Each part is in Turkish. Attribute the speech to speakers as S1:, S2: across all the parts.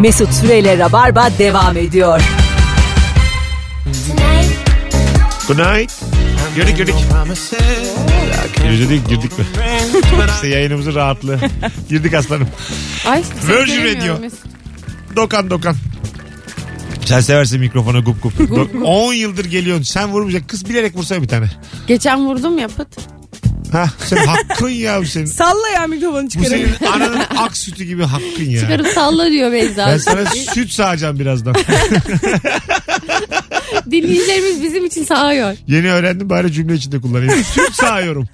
S1: Mesut Süreyle Rabarba devam ediyor.
S2: Good night. Görük görük. Gece değil girdik mi? işte yayınımızın rahatlığı. Girdik aslanım.
S3: Ay, seni
S2: Virgin
S3: göremiyorum
S2: Radio.
S3: Mesut.
S2: Dokan dokan. Sen seversin mikrofona gup gup. Do- 10 yıldır geliyorsun. Sen vurmayacak. Kız bilerek vursa bir tane.
S3: Geçen vurdum ya pıt.
S2: Ha sen hakkın ya bu senin.
S4: Salla ya mikrofonu
S2: Bu
S4: çıkarın.
S2: senin ananın ak sütü gibi hakkın ya.
S3: Çıkarıp salla diyor
S2: Ben
S3: Beyza.
S2: sana süt sağacağım birazdan.
S3: Dinleyicilerimiz bizim için sağıyor.
S2: Yeni öğrendim bari cümle içinde kullanayım. Süt sağıyorum.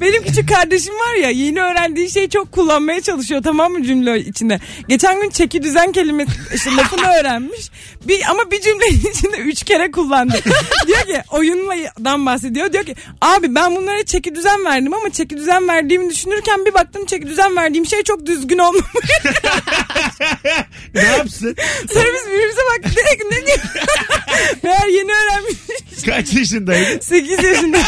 S4: Benim küçük kardeşim var ya yeni öğrendiği şeyi çok kullanmaya çalışıyor tamam mı cümle içinde. Geçen gün çeki düzen kelimesi işte lafını öğrenmiş. Bir, ama bir cümle içinde üç kere kullandı. diyor ki oyundan bahsediyor. Diyor ki abi ben bunlara çeki düzen verdim ama çeki düzen verdiğimi düşünürken bir baktım çeki düzen verdiğim şey çok düzgün olmamış.
S2: Ne yapsın?
S4: Sonra biz birbirimize baktık dedik ne diyor? Meğer yeni öğrenmiş.
S2: Kaç yaşındaydı?
S4: 8 yaşında.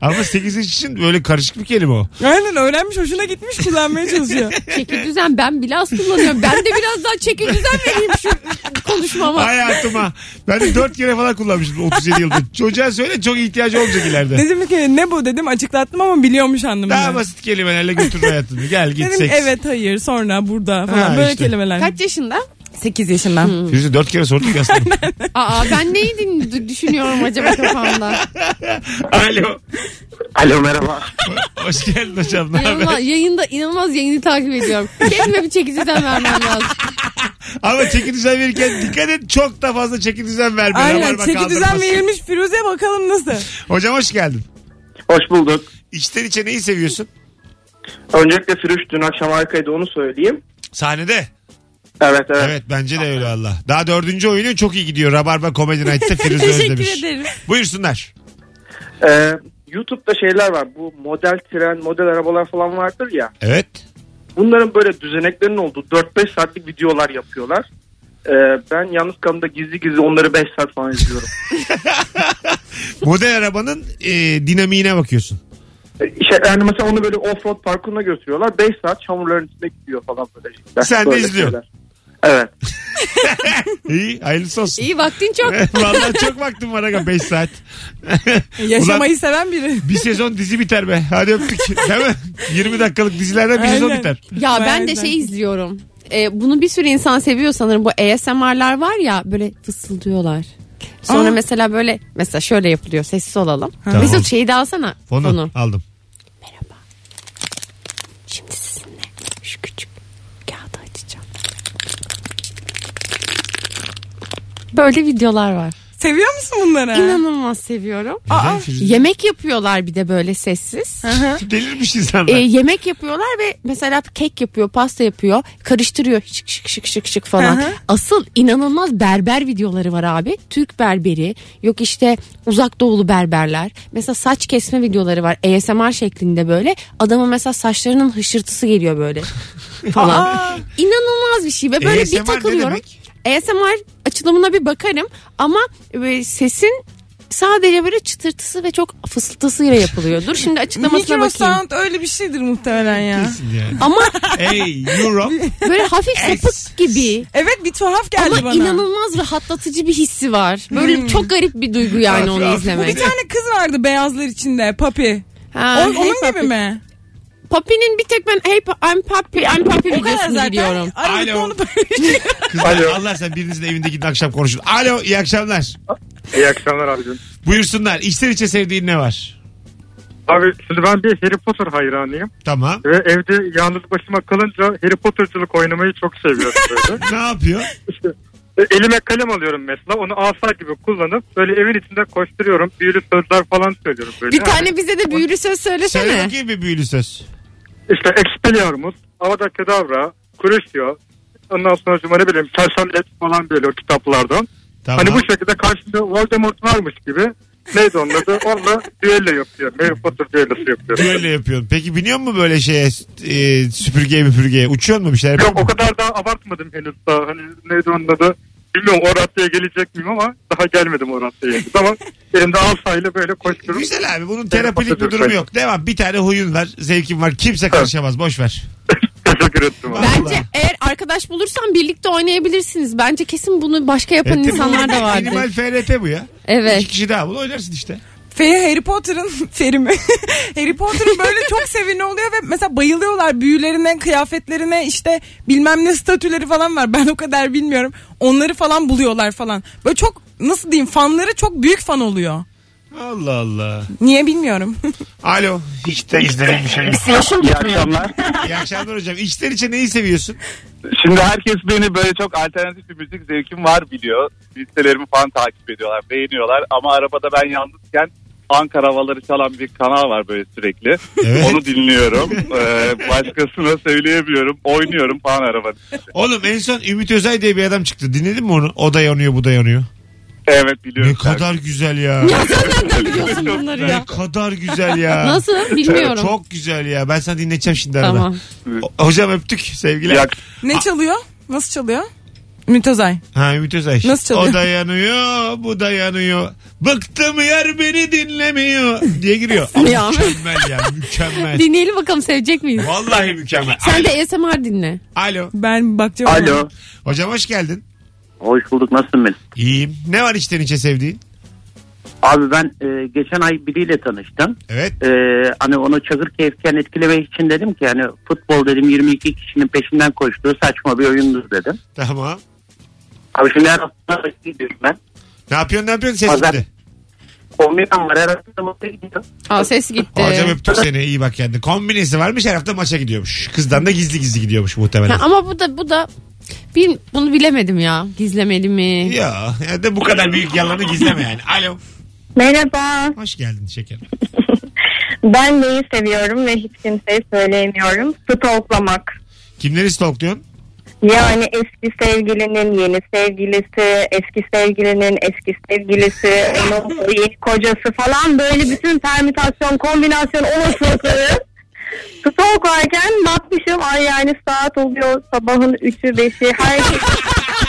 S2: Ama 8 yaş için böyle karışık bir kelime o.
S4: Aynen öğrenmiş hoşuna gitmiş kullanmaya çalışıyor.
S3: Çeki düzen ben bile az kullanıyorum. Ben de biraz daha çeki düzen vereyim şu konuşmama.
S2: Hayatıma. Ben de 4 kere falan kullanmıştım 37 yıldır. Çocuğa söyle çok ihtiyacı olacak ileride.
S4: Dedim ki ne bu dedim açıklattım ama biliyormuş anlamını.
S2: Daha basit kelimelerle götür hayatını. Gel git
S4: Dedim
S2: seks.
S4: evet hayır sonra burada falan
S2: Ha,
S4: böyle
S2: işte.
S4: kelimeler.
S3: Kaç yaşında?
S4: 8 yaşından.
S2: Firuze 4 kere sorduk ya aslında.
S3: Aa ben neyi din- düşünüyorum acaba kafamda?
S2: Alo.
S5: Alo merhaba.
S2: Hoş geldin hocam. Ne haber?
S3: İnanılmaz, yayında inanılmaz yayını takip ediyorum. Kendime bir çeki düzen vermem lazım.
S2: Ama çeki düzen verirken dikkat et çok da fazla çeki düzen verme.
S4: Aynen
S2: Rabarba
S4: çeki düzen
S2: kaldırmasın.
S4: verilmiş Firuze bakalım nasıl.
S2: Hocam hoş geldin.
S5: Hoş bulduk.
S2: İçten içe neyi seviyorsun?
S5: Öncelikle Firuş dün akşam harikaydı onu söyleyeyim.
S2: Sahnede.
S5: Evet evet.
S2: Evet bence de öyle valla. Daha dördüncü oyunu çok iyi gidiyor. Rabarba Comedy Night'te Firuze Özdemiş.
S3: Teşekkür ederim.
S2: Buyursunlar.
S5: Ee, YouTube'da şeyler var. Bu model tren, model arabalar falan vardır ya.
S2: Evet.
S5: Bunların böyle düzeneklerin olduğu 4-5 saatlik videolar yapıyorlar. Ee, ben yalnız kanımda gizli gizli onları 5 saat falan izliyorum.
S2: Model arabanın e, dinamiğine bakıyorsun.
S5: Ee, şey, yani mesela onu böyle offroad parkuruna götürüyorlar. 5 saat çamurların içinde gidiyor falan böyle. şeyler.
S2: Sen de
S5: Böyle
S2: izliyorsun.
S5: şeyler. Evet.
S2: İyi hayırlısı olsun.
S3: İyi vaktin çok.
S2: Vallahi çok vaktim var aga 5 saat.
S4: Yaşamayı seven biri.
S2: Bir sezon dizi biter be. Hadi öptük. Değil mi? 20 dakikalık dizilerden bir sezon
S4: Aynen.
S2: biter.
S3: Ya ben de
S4: Bazen.
S3: şey izliyorum. Ee, bunu bir sürü insan seviyor sanırım. Bu ASMR'lar var ya böyle fısıldıyorlar. Sonra
S4: Aa.
S3: mesela böyle mesela şöyle yapılıyor. Sessiz olalım.
S2: Tamam.
S3: Mesut şeyi de alsana.
S2: Fonu,
S3: Fonu.
S2: aldım.
S3: Şimdi sizinle şu küçük kağıdı açacağım. Böyle videolar var.
S4: Seviyor musun bunları?
S3: İnanılmaz seviyorum.
S2: Neden Firuze?
S3: Yemek yapıyorlar bir de böyle sessiz.
S2: Delirmiş insanlar.
S3: Ee, yemek yapıyorlar ve mesela kek yapıyor, pasta yapıyor, karıştırıyor şık şık şık şık şık falan.
S4: Hı hı.
S3: Asıl inanılmaz berber videoları var abi. Türk berberi, yok işte uzak doğulu berberler. Mesela saç kesme videoları var ASMR şeklinde böyle. Adamın mesela saçlarının hışırtısı geliyor böyle falan. İnanılmaz bir şey ve böyle
S2: ASMR ne
S3: bir takılıyorum.
S2: demek?
S3: ASMR açılımına bir bakarım ama e, sesin sadece böyle çıtırtısı ve çok fısıltısıyla yapılıyor. Dur şimdi açıklamasına
S4: Mikro
S3: bakayım.
S4: sound öyle bir şeydir muhtemelen ya.
S2: Kesin yani.
S3: Ama
S2: Ey Europe.
S3: böyle hafif sapık gibi
S4: Evet bir tuhaf geldi
S3: ama
S4: bana.
S3: inanılmaz rahatlatıcı bir hissi var. Böyle çok garip bir duygu yani onu
S2: Hafif-
S4: Bu bir
S3: izlemek.
S4: tane kız vardı beyazlar içinde papi.
S3: Ha,
S4: O-
S3: Hey
S4: onun
S3: Papi.
S4: gibi mi?
S3: Papi'nin bir tek ben Hey Pa- I'm Papi I'm Papi
S4: O kadar
S3: videosunu
S4: zaten.
S3: biliyorum.
S4: Aralıkta
S2: Alo.
S4: onu paylaşıyor.
S2: Kızlar
S5: Alo.
S2: Allah sen birinizin evinde gidin akşam konuşun. Alo iyi akşamlar.
S5: İyi akşamlar abicim.
S2: Buyursunlar. İçten içe sevdiğin ne var?
S5: Abi şimdi ben bir Harry Potter hayranıyım.
S2: Tamam.
S5: Ve evde yalnız başıma kalınca Harry Potter'cılık oynamayı çok seviyorum böyle.
S2: Ne yapıyor?
S5: İşte e, elime kalem alıyorum mesela onu asa gibi kullanıp böyle evin içinde koşturuyorum. Büyülü sözler falan söylüyorum böyle.
S3: Bir tane bize de büyülü söz
S2: Söyle
S3: söylesene.
S2: bakayım bir büyülü söz.
S5: Yani İşte Expelliarmus, Avada Kedavra, Crucio. Ondan sonra cuma ne bileyim Çarşambilet falan böyle o kitaplardan.
S2: Tamam.
S5: Hani bu şekilde karşında Voldemort varmış gibi. Neydi onun adı? Onunla düello yapıyorum. Harry Potter düellosu yapıyorum.
S2: Böyle yapıyorsun. Peki biniyor mu böyle şeye e, süpürgeye müpürgeye? Uçuyor mu bir şeyler? yapıyor
S5: Yok o
S2: musun?
S5: kadar daha abartmadım henüz daha. Hani neydi onun adı? Bilmiyorum o raddeye gelecek miyim ama daha gelmedim o raddeye. henüz. ama elimde asayla böyle koşturup
S2: Güzel abi bunun terapilik bir
S5: Kapatıyoruz
S2: durumu
S5: hadi.
S2: yok. Devam bir tane huyun var zevkin var kimse karışamaz boş ver.
S5: teşekkür ettim. abi.
S3: Bence eğer arkadaş bulursan birlikte oynayabilirsiniz. Bence kesin bunu başka yapan
S2: tabii
S3: insanlar da
S2: bu
S3: vardı.
S2: Minimal FRT bu ya.
S3: Evet.
S2: İki kişi daha bul oynarsın işte.
S4: Feri Harry Potter'ın Ferimi. Harry Potter'ın böyle çok sevini oluyor ve mesela bayılıyorlar büyülerine, kıyafetlerine işte bilmem ne statüleri falan var. Ben o kadar bilmiyorum. Onları falan buluyorlar falan. Böyle çok nasıl diyeyim fanları çok büyük fan oluyor.
S2: Allah Allah.
S4: Niye bilmiyorum.
S2: Alo. Hiç de izlediğim bir şey yok.
S6: İyi akşamlar.
S2: İyi akşamlar hocam. İçten içe neyi seviyorsun?
S6: Şimdi herkes beni böyle çok alternatif bir müzik zevkim var biliyor. Listelerimi falan takip ediyorlar, beğeniyorlar. Ama arabada ben yalnızken Ankara havaları çalan bir kanal var böyle sürekli.
S2: Evet.
S6: Onu dinliyorum. Ee, başkasına söyleyemiyorum. Oynuyorum falan arabada.
S2: Oğlum en son Ümit Özay diye bir adam çıktı. Dinledin mi onu? O da yanıyor bu da yanıyor.
S6: Evet
S2: Ne
S6: biliyorum.
S2: kadar güzel ya.
S3: Biliyorsun bunları
S2: Ne
S3: ya.
S2: kadar güzel ya.
S3: Nasıl bilmiyorum.
S2: Çok güzel ya. Ben sana dinleteceğim şimdi arada.
S3: Tamam.
S2: O- Hocam öptük sevgiler.
S6: Yak-
S4: ne çalıyor? Nasıl çalıyor? Mütezay.
S2: Ha Ümit Özay.
S4: Nasıl çalıyor?
S2: O da yanıyor, bu da yanıyor. Bıktım yer beni dinlemiyor diye giriyor. Ama
S3: Ya.
S2: mükemmel ya mükemmel.
S3: Dinleyelim bakalım sevecek miyiz?
S2: Vallahi mükemmel.
S3: Sen de ASMR dinle.
S2: Alo.
S4: Ben bakacağım. ona.
S7: Alo.
S2: Hocam hoş geldin.
S7: Hoş bulduk. Nasılsın ben?
S2: İyiyim. Ne var içten içe sevdiğin?
S7: Abi ben e, geçen ay biriyle tanıştım.
S2: Evet.
S7: E, hani onu çakır keyifken etkilemek için dedim ki hani futbol dedim 22 kişinin peşinden koştuğu saçma bir oyundur dedim.
S2: Tamam.
S7: Abi şimdi her hafta maça gidiyorum ben.
S2: Ne yapıyorsun ne yapıyorsun ses
S7: Pazar-
S2: gitti.
S7: Kombinem var her hafta maça gidiyorum.
S3: Aa ses gitti.
S2: Hocam öptük seni iyi bak kendine. Kombinesi varmış her hafta maça gidiyormuş. Kızdan da gizli gizli gidiyormuş
S3: Ha,
S2: muhtemelen.
S3: ama bu da bu da bil, bunu bilemedim ya. Gizlemeli mi?
S2: Ya, ya da bu kadar büyük yalanı gizleme yani. Alo.
S8: Merhaba.
S2: Hoş geldin şeker.
S8: Ben neyi seviyorum ve hiç kimseye söyleyemiyorum? Stalklamak.
S2: Kimleri stalkluyorsun?
S8: Yani eski sevgilinin yeni sevgilisi, eski sevgilinin eski sevgilisi, onun yeni kocası falan böyle bütün permütasyon, kombinasyon olasılıkları stalklarken bakmışım ay yani saat oluyor sabahın 3'ü 5'i herkes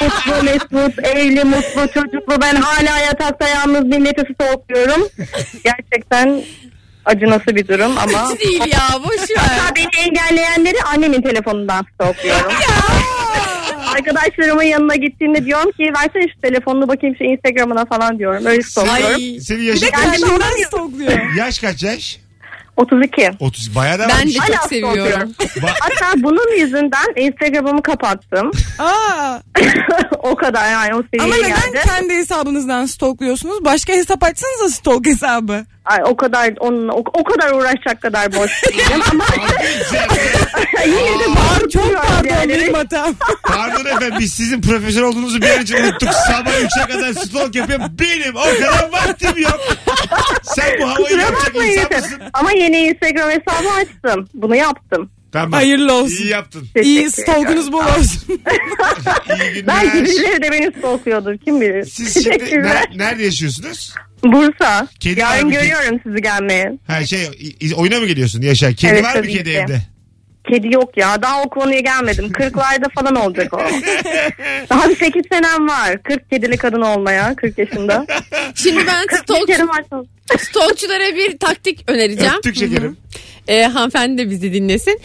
S8: mutlu mesut evli mutlu çocuklu ben hala yatakta yalnız milleti stalkluyorum gerçekten acınası bir durum ama
S3: Hiç değil ya boş ver.
S8: Hatta beni engelleyenleri annemin telefonundan stalkluyorum. Arkadaşlarımın yanına gittiğimde diyorum ki versene şu telefonunu bakayım şu Instagram'ına falan diyorum. Öyle stalkluyorum.
S3: Ay.
S2: Senin yaşın
S8: Ben
S4: Kendinden
S8: anlamıyorum.
S4: stalkluyor.
S2: Yaş kaç yaş?
S8: 32.
S2: 30. Bayağı da
S3: Ben de
S2: varmış.
S3: çok
S8: Hala
S3: seviyorum.
S8: stalkluyorum.
S2: Ba-
S8: Hatta bunun yüzünden Instagram'ımı kapattım.
S4: Aa,
S8: o kadar yani o
S4: ama
S8: seviyeye
S4: neden
S8: geldi.
S4: kendi hesabınızdan stalkluyorsunuz? Başka hesap açsanız da stalk hesabı.
S8: Ay, o kadar onunla o, o kadar uğraşacak kadar boş değilim ama yine de bağırıp
S4: Çok
S8: duruyorum
S4: pardon
S8: yani.
S4: benim hatam.
S2: Pardon efendim biz sizin profesör olduğunuzu bir an için unuttuk. Sabah 3'e kadar stalk yapıyorum. Benim o kadar vaktim yok. Sen bu havayı
S8: Kusura
S2: yapacak
S8: bakmayın
S2: insan
S8: yeter.
S2: mısın?
S8: Ama yeni Instagram hesabı açtım. Bunu yaptım.
S2: Tamam.
S4: Hayırlı olsun.
S2: İyi yaptın.
S4: İyi
S8: Teşekkür ederim.
S4: stalkunuz bol olsun.
S2: İyi günler.
S8: Belki birileri de beni stalkluyordur. Kim bilir.
S2: Siz şimdi
S8: Teşekkürler.
S2: ner- nerede yaşıyorsunuz?
S8: Bursa.
S2: Kedi var
S8: Yarın
S2: mı ki?
S8: görüyorum sizi gelmeye.
S2: Ha şey i- i- oyuna mı geliyorsun Yaşar? Kedi
S8: Evet,
S2: var mı
S8: tabii
S2: kedi
S8: ki.
S2: evde?
S8: Kedi yok ya. Daha o konuya gelmedim. Kırklarda falan olacak o. Daha bir 8 senem var. 40 kedili kadın olmaya. 40 yaşında.
S3: Şimdi ben
S8: 40
S3: stalk,
S8: kere var.
S3: stalkçılara bir taktik önereceğim.
S2: Öptük şekerim.
S3: e, hanımefendi de bizi dinlesin.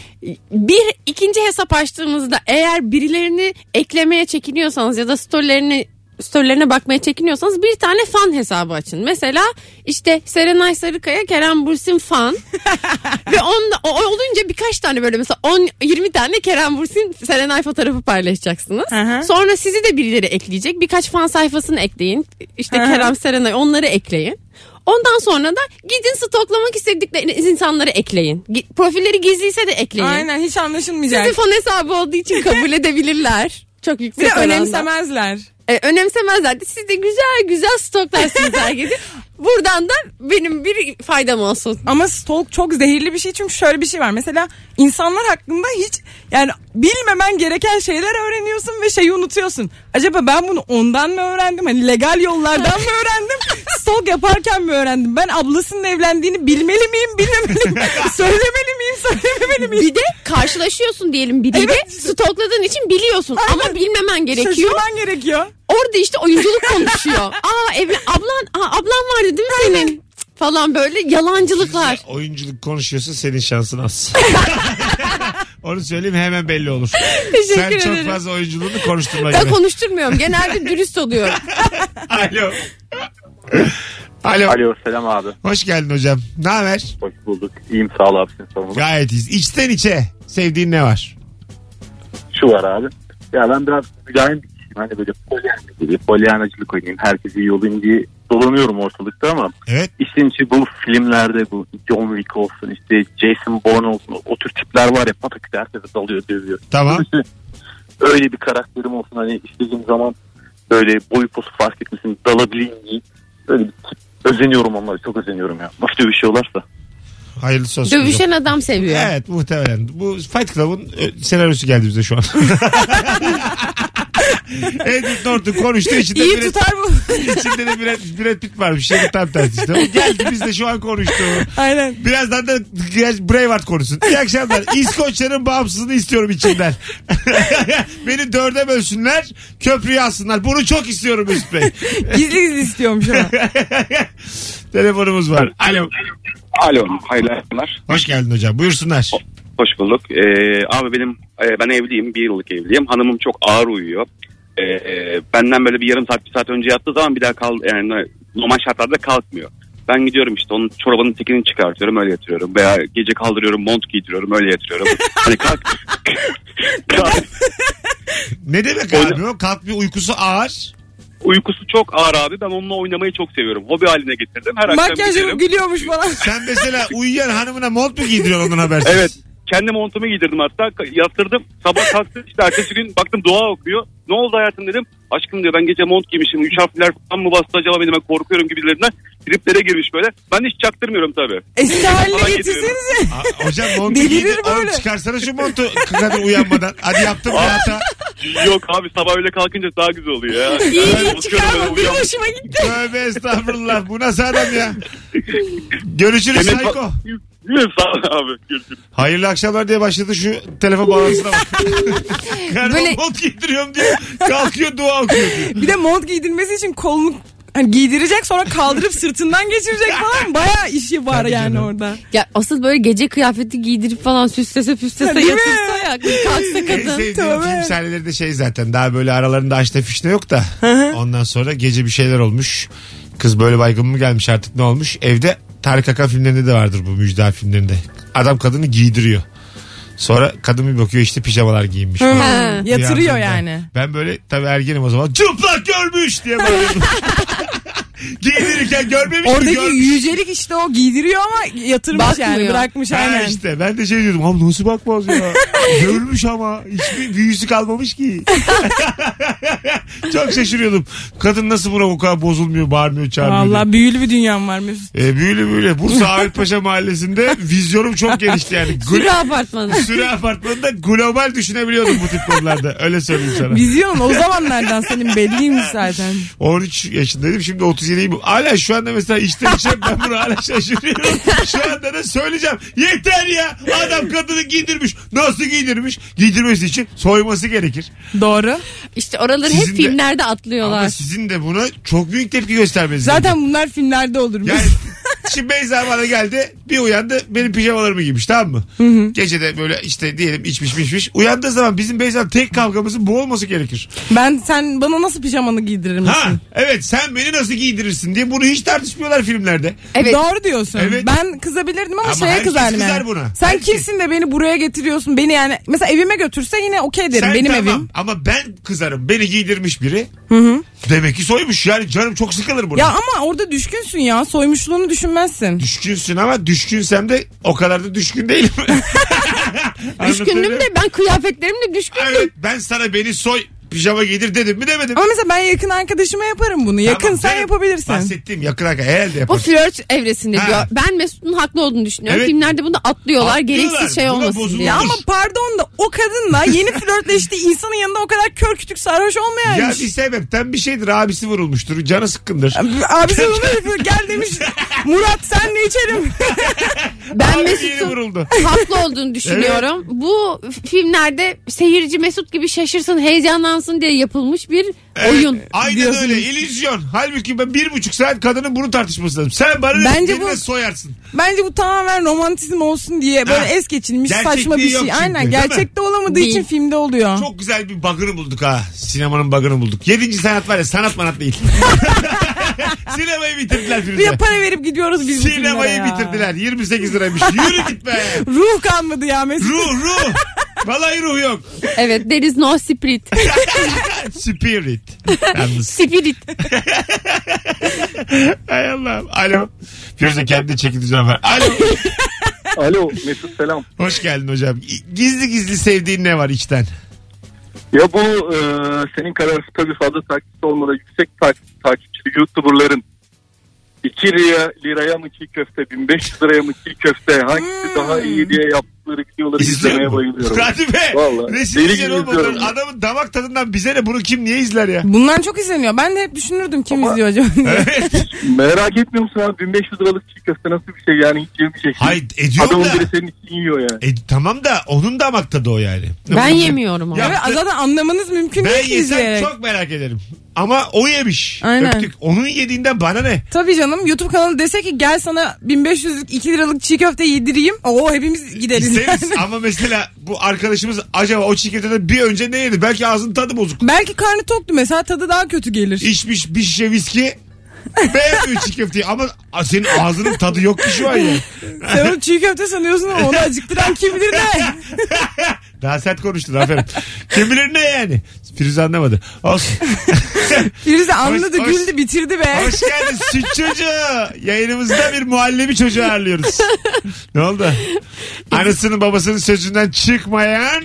S3: Bir ikinci hesap açtığımızda eğer birilerini eklemeye çekiniyorsanız ya da storylerini storylerine bakmaya çekiniyorsanız bir tane fan hesabı açın. Mesela işte Serenay Sarıkaya, Kerem Bursin fan. Ve onda, o olunca birkaç tane böyle mesela 10 20 tane Kerem Bursin Serenay fotoğrafı paylaşacaksınız.
S4: Aha.
S3: Sonra sizi de birileri ekleyecek. Birkaç fan sayfasını ekleyin. İşte Kerem Serenay onları ekleyin. Ondan sonra da gidin stoklamak istedikleriniz insanları ekleyin. Gi- Profilleri gizliyse de ekleyin.
S4: Aynen hiç anlaşılmayacak.
S3: Sizin fan hesabı olduğu için kabul edebilirler. Çok
S4: Bir
S3: yüksek
S4: de
S3: oranda.
S4: önemsemezler.
S3: E, önemsemezler de siz de güzel güzel stoklarsınız herkesi. Buradan da benim bir faydam olsun.
S4: Ama stalk çok zehirli bir şey çünkü şöyle bir şey var. Mesela insanlar hakkında hiç yani bilmemen gereken şeyler öğreniyorsun ve şeyi unutuyorsun. Acaba ben bunu ondan mı öğrendim? Hani legal yollardan mı öğrendim? Stalk yaparken mi öğrendim? Ben ablasının evlendiğini bilmeli miyim? Bilmemeli miyim? Söylemeli miyim? Söylememeli miyim?
S3: Bir de karşılaşıyorsun diyelim biriyle.
S4: Evet.
S3: Stokladığın için biliyorsun ama bilmemen gerekiyor.
S4: Şaşırman gerekiyor.
S3: Orada işte oyunculuk konuşuyor. Aa evli ablan aa, ablan vardı değil mi senin? Cık, falan böyle yalancılıklar.
S2: Oyunculuk konuşuyorsa senin şansın az. Onu söyleyeyim hemen belli olur.
S3: Teşekkür
S2: Sen çok
S3: ederim.
S2: fazla oyunculuğunu konuşturma
S3: Ben
S2: gibi.
S3: konuşturmuyorum. Genelde dürüst oluyorum.
S2: Alo. Alo.
S6: Alo selam abi.
S2: Hoş geldin hocam. Ne haber?
S6: Hoş bulduk. İyiyim sağ ol abi. Sen sormalı.
S2: Gayet iyiyiz. İçten içe sevdiğin ne var?
S6: Şu var abi. Ya ben biraz mülayim bir kişiyim. Hani böyle polyanacılık, gibi, polyanacılık oynayayım. Herkese iyi olayım diye dolanıyorum ortalıkta ama
S2: Evet.
S6: işin içi bu filmlerde bu John Wick olsun işte Jason Bourne olsun o tür tipler var ya pataküte herkese dalıyor dövüyor.
S2: Tamam.
S6: İşte öyle bir karakterim olsun hani istediğim zaman böyle boy posu fark etmesin dalabileyim diye böyle bir tip. özeniyorum onlara çok özeniyorum ya. şey Nasıl dövüşüyorlarsa.
S2: Hayırlısı olsun. hocam.
S3: Dövüşen adam seviyor.
S2: Evet muhtemelen. Bu Fight Club'ın ö, senaryosu geldi bize şu an. Edward Norton konuştu. içinde
S4: İyi
S2: Brad-
S4: tutar bu.
S2: İçinde de Brad, Brad Pitt varmış. Şey tam tersi işte. O geldi biz de şu an konuştu.
S4: Aynen.
S2: Birazdan da biraz Braveheart konuşsun. İyi akşamlar. İskoçya'nın bağımsızlığını istiyorum içimden. Beni dörde bölsünler. Köprüyü alsınlar. Bunu çok istiyorum Mesut Bey.
S4: Gizli gizli istiyormuş ama.
S2: Telefonumuz var. Alo.
S9: Alo, hayırlı akşamlar.
S2: Hoş geldin hocam. Buyursunlar.
S9: Hoş bulduk. Ee, abi benim e, ben evliyim, bir yıllık evliyim. Hanımım çok ağır uyuyor. Ee, e, benden böyle bir yarım saat, bir saat önce yattığı zaman bir daha kal, yani normal şartlarda kalkmıyor. Ben gidiyorum işte onun çorabının tekini çıkartıyorum öyle yatırıyorum. Veya gece kaldırıyorum mont giydiriyorum öyle yatırıyorum. hani kalk, kalk.
S2: Ne demek abi o? Kalk bir uykusu ağır.
S9: Uykusu çok ağır abi. Ben onunla oynamayı çok seviyorum. Hobi haline getirdim. Her akşam
S4: Makyaj
S9: giderim.
S4: yapıp gülüyormuş falan.
S2: Sen mesela uyuyan hanımına mont mu giydiriyorsun ondan habersiz?
S9: Evet. Kendi montumu giydirdim hatta. Yastırdım. Sabah kalktım işte ertesi gün baktım dua okuyor. Ne oldu hayatım dedim. Aşkım diyor ben gece mont giymişim. Üç harfler falan mı bastı acaba benim ben korkuyorum gibilerinden. Triplere girmiş böyle. Ben hiç çaktırmıyorum tabii.
S4: Eski
S9: Falan
S4: E, haline
S9: getiriyorum.
S4: getirsenize.
S2: Aa, hocam montu
S4: Delirir
S2: giydir. Oğlum
S4: böyle.
S2: çıkarsana şu montu kadın uyanmadan. Hadi yaptım bir hata.
S9: Yok abi sabah öyle kalkınca daha güzel oluyor ya.
S3: İyi
S9: Ben
S3: iyi
S9: bakıyorum böyle
S3: çıkarma. Bir
S9: uyan-
S3: hoşuma gitti.
S2: Tövbe estağfurullah. Bu nasıl adam ya? Görüşürüz
S9: Demek-
S2: Sayko.
S9: Yürü, Sağ ol abi. Görüşürüz.
S2: Hayırlı akşamlar diye başladı şu telefon bağlantısına bak. Karnım
S3: Böyle-
S2: mont giydiriyorum diyor. Kalkıyor dua okuyor diyor.
S4: Bir de mont giydirmesi için kolunu hani giydirecek sonra kaldırıp sırtından geçirecek falan. Baya işi var
S2: Tabii
S4: yani
S2: canım.
S4: orada.
S3: Ya asıl böyle gece kıyafeti giydirip falan süslese püslese
S4: Değil mi?
S3: yatırsa ya. Kalksa
S2: En
S3: kadın.
S2: sevdiğim
S4: tövbe.
S2: film sahneleri de şey zaten daha böyle aralarında açta fişte yok da ondan sonra gece bir şeyler olmuş. Kız böyle baygın mı gelmiş artık ne olmuş? Evde Tarık Akan filmlerinde de vardır bu müjda filmlerinde. Adam kadını giydiriyor. Sonra kadın bir bakıyor işte pijamalar giyinmiş. falan.
S3: Ha.
S2: Bir
S4: Hmm. Yatırıyor
S2: yandan da-
S4: yani.
S2: Ben böyle tabii ergenim o zaman çıplak görmüş diye bağırıyordum. Giydirirken görmemiş mi
S4: Oradaki
S2: görmüş.
S4: yücelik işte o giydiriyor ama yatırmış yani
S3: Bakmıyor.
S4: bırakmış
S2: Ha
S4: aynen.
S2: işte ben de şey diyordum abi nasıl bakmaz ya. Görmüş ama hiçbir büyüsü kalmamış ki. Çok şaşırıyordum. Kadın nasıl buna bu kadar bozulmuyor, bağırmıyor, çağırmıyor.
S4: Vallahi büyülü bir dünyam var Mesut.
S2: E, büyülü büyülü. Bursa Ahmetpaşa mahallesinde vizyonum çok genişti yani. Gl-
S3: Sürü apartmanı.
S2: Süre apartmanında global düşünebiliyordum bu tip konularda. Öyle söyleyeyim sana.
S4: Vizyon o zamanlardan senin belliymiş zaten.
S2: 13 yaşındaydım şimdi 37'yim. Hala şu anda mesela içten içe ben bunu hala şaşırıyorum. Şu anda da söyleyeceğim. Yeter ya adam kadını giydirmiş. Nasıl giydirmiş? Giydirmesi için soyması gerekir.
S4: Doğru.
S3: İşte oraları
S2: Sizin de-
S3: hep filmlerde
S2: Ama
S3: atlıyorlar.
S2: sizin de buna çok büyük tepki göstermeniz lazım.
S4: Zaten bunlar filmlerde olur.
S2: Yani
S4: Mesut.
S2: şimdi Beyza bana geldi bir uyandı benim pijamalarımı giymiş tamam mı? Gece de böyle işte diyelim içmiş içmiş. Uyandığı zaman bizim Beyza tek kavgamızın bu olması gerekir.
S4: Ben sen bana nasıl pijamanı giydiririm?
S2: Ha evet sen beni nasıl giydirirsin diye bunu hiç tartışmıyorlar filmlerde.
S3: Evet.
S4: Doğru diyorsun.
S2: Evet.
S4: Ben kızabilirdim ama,
S2: Ama
S4: şeye
S2: herkes
S4: kızardım
S2: kızar
S4: yani.
S2: buna.
S4: Sen
S2: Herkes.
S4: kimsin de beni buraya getiriyorsun? Beni yani mesela evime götürse yine okey derim.
S2: Sen
S4: Benim
S2: tamam
S4: evim.
S2: ama ben kızarım. Beni giydirmiş biri. Demek ki soymuş. Yani canım çok sıkılır buna.
S4: Ya ama orada düşkünsün ya. Soymuşluğunu düşünmezsin.
S2: Düşkünsün ama düşkünsem de o kadar da düşkün değilim.
S3: Düşkündüm
S2: Anlatabiliyor muyum?
S3: de ben kıyafetlerimle düşkündüm.
S2: Evet, ben sana beni soy pijama giydir dedim mi demedim.
S4: Ama mesela ben yakın arkadaşıma yaparım bunu. Yakın
S2: Tamam,
S4: sen
S2: canım.
S4: yapabilirsin.
S2: Bahsettiğim yakın arkadaş herhalde
S3: O
S2: yaparsın.
S3: flört evresinde
S2: Ha.
S3: diyor. Ben Mesut'un haklı olduğunu düşünüyorum.
S2: Evet.
S3: Filmlerde bunu atlıyorlar.
S2: Atlıyorlar.
S3: Gereksiz şey
S2: Buna
S3: olmasın
S2: bozulur.
S3: diye.
S4: Ya ama
S2: Olur.
S4: pardon da o kadınla yeni flörtleştiği insanın yanında o kadar kör kütük sarhoş
S2: Ya
S4: olmayaymış.
S2: bir sebepten bir şeydir abisi vurulmuştur canı sıkkındır.
S4: Abisi bunu yapıyor, gel demiş. Murat sen ne içerim?
S3: Ben
S2: Abi yeni
S3: Mesut'un
S2: vuruldu.
S3: haklı olduğunu düşünüyorum. Bu filmlerde seyirci Mesut gibi şaşırsın, heyecanlansın diye yapılmış bir oyun.
S2: Aynen
S3: diyorsunuz.
S2: öyle. İllüzyon. Halbuki ben bir buçuk saat kadının bunu tartışması lazım. Sen bana ne-
S4: Bence
S2: birine
S4: bu-
S2: soyarsın.
S4: Bence bu tamamen romantizm olsun diye böyle
S2: Ha.
S4: es geçilmiş
S2: Gerçekliği
S4: saçma bir
S2: yok
S4: şey.
S2: çünkü, değil
S4: Aynen
S2: mi?
S4: gerçekte olamadığı
S3: Değil.
S4: için filmde oluyor.
S2: Çok güzel bir bug'ını bulduk ha. Sinemanın bug'ını bulduk. Yedinci sanat var ya sanat manat değil. Sinemayı bitirdiler
S4: Bir
S2: Firuze.
S4: de para verip gidiyoruz biz bu filmlere
S2: Sinemayı
S4: ya.
S2: bitirdiler. 28 liraymış. Yürü git be.
S4: Ruh kalmadı ya Mesut.
S2: Ruh ruh. Vallahi ruh yok.
S3: Evet, there is no spirit.
S2: Spirit. Yalnız.
S3: spirit.
S2: Hay Allah'ım. Alo. Firuze kendi çeki düzen ver. Alo.
S6: Alo Mesut selam.
S2: Hoş geldin hocam. Gizli gizli sevdiğin ne var içten?
S6: Ya bu e, senin kadar tabii fazla takipçi olmadan yüksek tak- takipçili YouTuber'ların 2 liraya, liraya mı çiğ köfte, 1500 liraya mı çiğ köfte hangisi daha iyi diye yaptıkları videoları izlemeye bayılıyorum.
S2: Hadi be.
S6: Vallahi.
S2: Resim
S6: Deli
S2: güzel
S6: gibi
S2: oğlum.
S6: izliyorum.
S2: Adamın damak tadından bize ne? Bunu kim niye izler ya?
S4: Bundan çok izleniyor. Ben de hep düşünürdüm kim izliyor acaba. diye.
S6: Merak etmiyor musun abi 1500 liralık çiğ köfte nasıl bir şey yani hiç yemeyecek.
S2: Hayır ediyorum
S6: Adamın
S2: da.
S6: biri senin için yiyor yani.
S2: E, tamam da onun damak tadı o yani.
S3: Ben yemiyorum onu.
S2: Ya-
S4: Ve zaten anlamanız mümkün
S2: Ben
S4: değil ki
S2: yesem
S4: izleyerek.
S2: çok merak ederim. Ama o yemiş.
S4: Aynen.
S2: Öptük. Onun yediğinden bana ne?
S4: Tabii canım YouTube kanalı dese ki gel sana 1500'lük 2 liralık çiğ köfte yedireyim. Oo hepimiz gideriz
S2: İsteriz.
S4: yani.
S2: Ama mesela bu arkadaşımız acaba o çikolateden bir önce ne yedi? Belki ağzının tadı bozuk.
S4: Belki karnı toktu mesela tadı daha kötü gelir.
S2: İçmiş bir şişe viski. Beğenmiyor çiğ köfteyi ama a- senin ağzının tadı yok ki şu an ya.
S4: Sen onu çiğ köfte sanıyorsun ama onu acıktıran kim bilir ne?
S2: Daha sert konuştun aferin. Kim bilir ne yani? Firuze anlamadı. Olsun.
S4: Firuze anladı
S2: hoş.
S4: güldü bitirdi be.
S2: Hoş geldin süt çocuğu. Yayınımızda bir muhallebi çocuğu ağırlıyoruz. ne oldu? Anasının babasının sözünden çıkmayan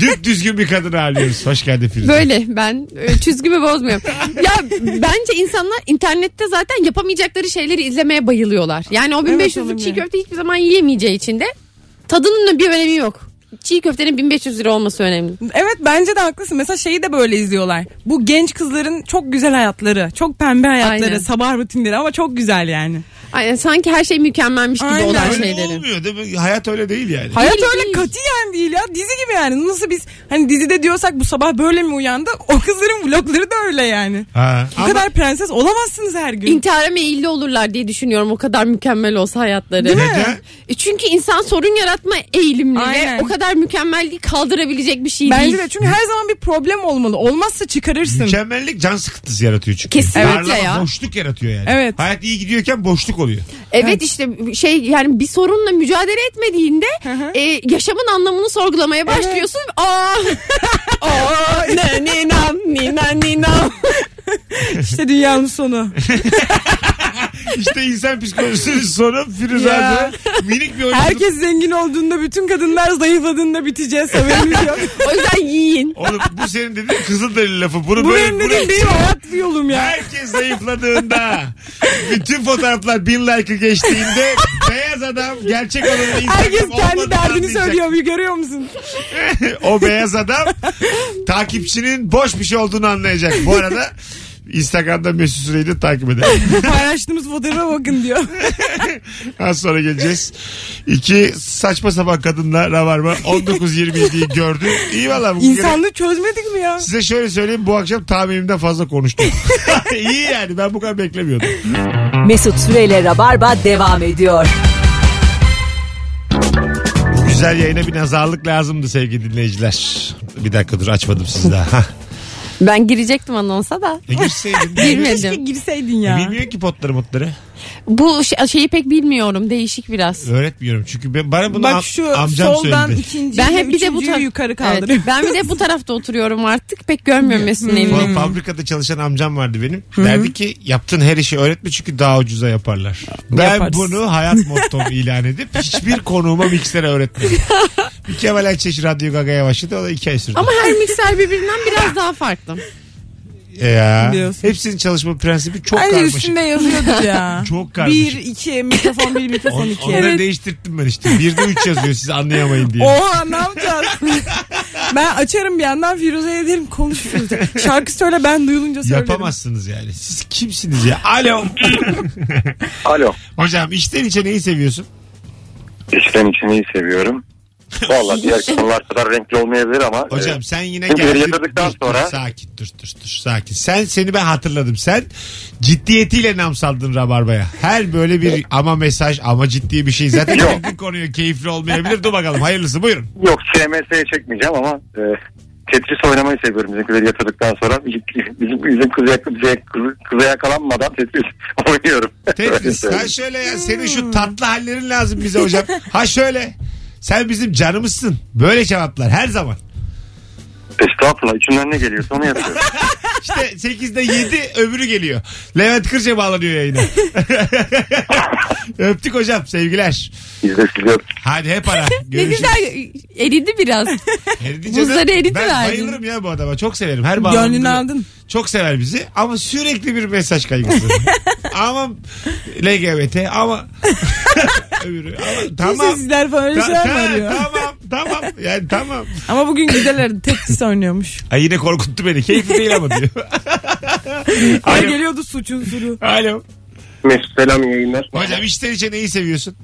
S2: düp düzgün bir kadını ağırlıyoruz. Hoş geldin Firuze.
S3: Böyle ben e, çizgimi bozmuyorum. ya bence insanlar internette zaten yapamayacakları şeyleri izlemeye bayılıyorlar. Yani o
S4: olabilir.
S3: 1500'lük çiğ köfte hiçbir zaman yiyemeyeceği için de tadının da bir önemi yok. Çiğ köftenin 1500 lira olması önemli.
S4: Evet bence de haklısın. Mesela şeyi de böyle izliyorlar. Bu genç kızların çok güzel hayatları, çok pembe hayatları,
S3: Aynen.
S4: sabah rutinleri ama çok güzel yani.
S3: Aynen sanki her şey mükemmelmiş gibi
S4: Aynen.
S3: olan
S2: Öyle
S3: şeyleri.
S2: olmuyor değil mi? Hayat öyle değil yani.
S4: Hayat
S3: Değil,
S4: öyle
S3: değil.
S4: katiyen değil ya. Dizi gibi yani. Nasıl biz hani dizide diyorsak bu sabah böyle mi uyandı? O kızların vlogları da öyle yani.
S2: Ha.
S4: Bu
S2: Ama
S4: kadar prenses olamazsınız her gün.
S3: İntihara meyilli olurlar diye düşünüyorum o kadar mükemmel olsa hayatları.
S2: Değil mi? Neden?
S3: E Çünkü insan sorun yaratma eğilimli
S4: Aynen.
S3: ve o kadar mükemmelliği kaldırabilecek bir şey
S4: Bence
S3: değil.
S4: de çünkü her zaman bir problem olmalı. Olmazsa çıkarırsın.
S2: mükemmellik can sıkıntısı yaratıyor çünkü.
S3: Kesinlikle
S2: Darlama,
S3: ya.
S2: Boşluk yaratıyor yani.
S4: Evet.
S2: Hayat iyi gidiyorken boşluk oluyor.
S3: Evet işte şey yani bir sorunla mücadele etmediğinde e, yaşamın anlamını sorgulamaya başlıyorsun. Aa! Aa! Ne ne nam ni na, ni nam.
S4: İşte dünyanın sonu.
S2: İşte insan psikolojisinin sonu Firuze
S4: Ya.
S2: Hanım'ın minik bir oyunculuk.
S4: Herkes zengin olduğunda bütün kadınlar zayıfladığında biteceğiz. Haberimiz yok.
S3: O yüzden yiyin.
S2: Oğlum bu senin dediğin kızılderili lafı. Bunu
S4: Bu
S2: böyle,
S4: benim
S2: bunu-
S4: dediğim benim hayat yolum ya.
S2: Herkes zayıfladığında bütün fotoğraflar bin like'ı geçtiğinde beyaz adam gerçek olanı Instagram
S4: Herkes kendi
S2: olmadığını
S4: derdini
S2: anlayacak.
S4: söylüyor. Bir görüyor musun?
S2: o beyaz adam takipçinin boş bir şey olduğunu anlayacak. Bu arada Instagram'da Mesut Süreyi de takip edin.
S4: Paylaştığımız fotoğrafa bakın diyor.
S2: Az sonra geleceğiz. İki saçma sapan kadınla Rabarba 19.27'yi gördü. İyi valla. bugün gene-
S4: İnsanlığı çözmedik mi ya?
S2: Size şöyle söyleyeyim bu akşam tahminimden fazla konuştum. İyi yani ben bu kadar beklemiyordum.
S1: Mesut Süreyle Rabarba devam ediyor.
S2: Güzel yayına bir nazarlık lazımdı sevgili dinleyiciler. Bir dakika dur açmadım sizi daha. Hah.
S3: Ben girecektim anonsa da.
S2: E girseydin.
S4: Keşke
S3: Girmedim.
S4: girseydin
S2: E,
S4: ya.
S2: Bilmiyorum ki potları mutları.
S3: Bu şey- şeyi pek bilmiyorum. Değişik biraz.
S2: Öğretmiyorum çünkü ben, bana bunu am-
S4: Bak şu
S2: amcam
S4: soldan
S2: söyledi.
S4: ikinci
S3: Ben hep bir de bu
S4: üçüncüyü
S3: taraf-
S4: yukarı
S3: Evet,
S4: kaldırıyorum.
S3: ben bir de bu tarafta oturuyorum artık. Pek görmüyorum Mesut'un
S2: Fa-
S4: Hmm.
S3: elini.
S2: Fabrikada çalışan amcam vardı benim. Derdi ki yaptığın her işi öğretme çünkü daha ucuza yaparlar. Ben
S4: Yaparız.
S2: bunu hayat mottom ilan edip hiçbir konuğuma mikser öğretmedim. Bir Kemal Ayçeş Radyo Gaga'ya başladı o da iki ay sürdü.
S3: Ama her mikser birbirinden biraz daha farklı.
S2: E ya,
S4: Diyorsun.
S2: hepsinin çalışma prensibi çok
S4: Bence
S2: karmaşık.
S4: üstünde yazıyordu ya.
S2: Çok
S4: bir,
S2: karmaşık.
S4: iki, mikrofon bir, mikrofon
S2: On-
S4: iki.
S2: onları değiştirttim ben işte. Bir de üç yazıyor siz anlayamayın diye.
S4: Oha ne yapacağız? Ben açarım bir yandan Firuze'ye derim konuş Firuze. Şarkı söyle ben duyulunca söylerim.
S2: Yapamazsınız yani. Siz kimsiniz ya? Alo.
S6: Alo.
S2: Hocam içten içe neyi seviyorsun?
S6: İçten içini iyi seviyorum. Valla diğer konular kadar renkli olmayabilir ama.
S2: Hocam
S6: e,
S2: sen yine
S6: Çünkü
S2: geldin.
S6: yatırdıktan
S2: Dur, dur,
S6: sonra-
S2: sakin dur dur dur sakin. Sen seni ben hatırladım. Sen ciddiyetiyle nam saldın Rabarba'ya. Her böyle bir ama mesaj ama ciddi bir şey. Zaten
S6: Yok.
S2: girdin konuya keyifli olmayabilir. Dur bakalım hayırlısı buyurun.
S6: Yok CMS'ye çekmeyeceğim ama e, Tetris oynamayı seviyorum bizimkileri yatırdıktan sonra. Bizim, bizim, bizim kız, yak- bize- kız- kıza yakalanmadan Tetris oynuyorum.
S2: Tetris. Sen şöyle ya senin şu tatlı hallerin lazım bize hocam. Ha şöyle. Sen bizim canımızsın. Böyle cevaplar her zaman.
S6: Estağfurullah içimden ne geliyorsa onu yapıyorum.
S2: İşte 8'de 7 öbürü geliyor. Levent Kırca bağlanıyor yayına. Öptük hocam sevgiler.
S6: Biz de sizi öptük.
S2: Hadi hep ara.
S3: Ne
S2: Görüşürüz.
S3: güzel eridi biraz.
S2: Eridince de-
S3: Buzları eriti
S2: Ben
S3: verdin.
S2: bayılırım ya bu adama. Çok severim. Her bağlamda.
S4: Gönlünü aldın.
S2: Çok sever bizi ama sürekli bir mesaj kaygısı. ama LGBT ama öbürü ama tamam.
S4: Sessizler falan öyle
S2: Ta-
S4: şeyler mi
S3: şey
S2: ta-
S4: arıyor?
S2: tamam tamam yani tamam.
S4: Ama bugün gideler Tetris oynuyormuş.
S2: Ay yine korkuttu beni. Keyifli değil ama diyor.
S4: Ay
S2: Alo.
S4: geliyordu suç unsuru.
S2: Alo.
S10: Mesut selam iyi yayınlar.
S2: Hocam işten içe neyi seviyorsun?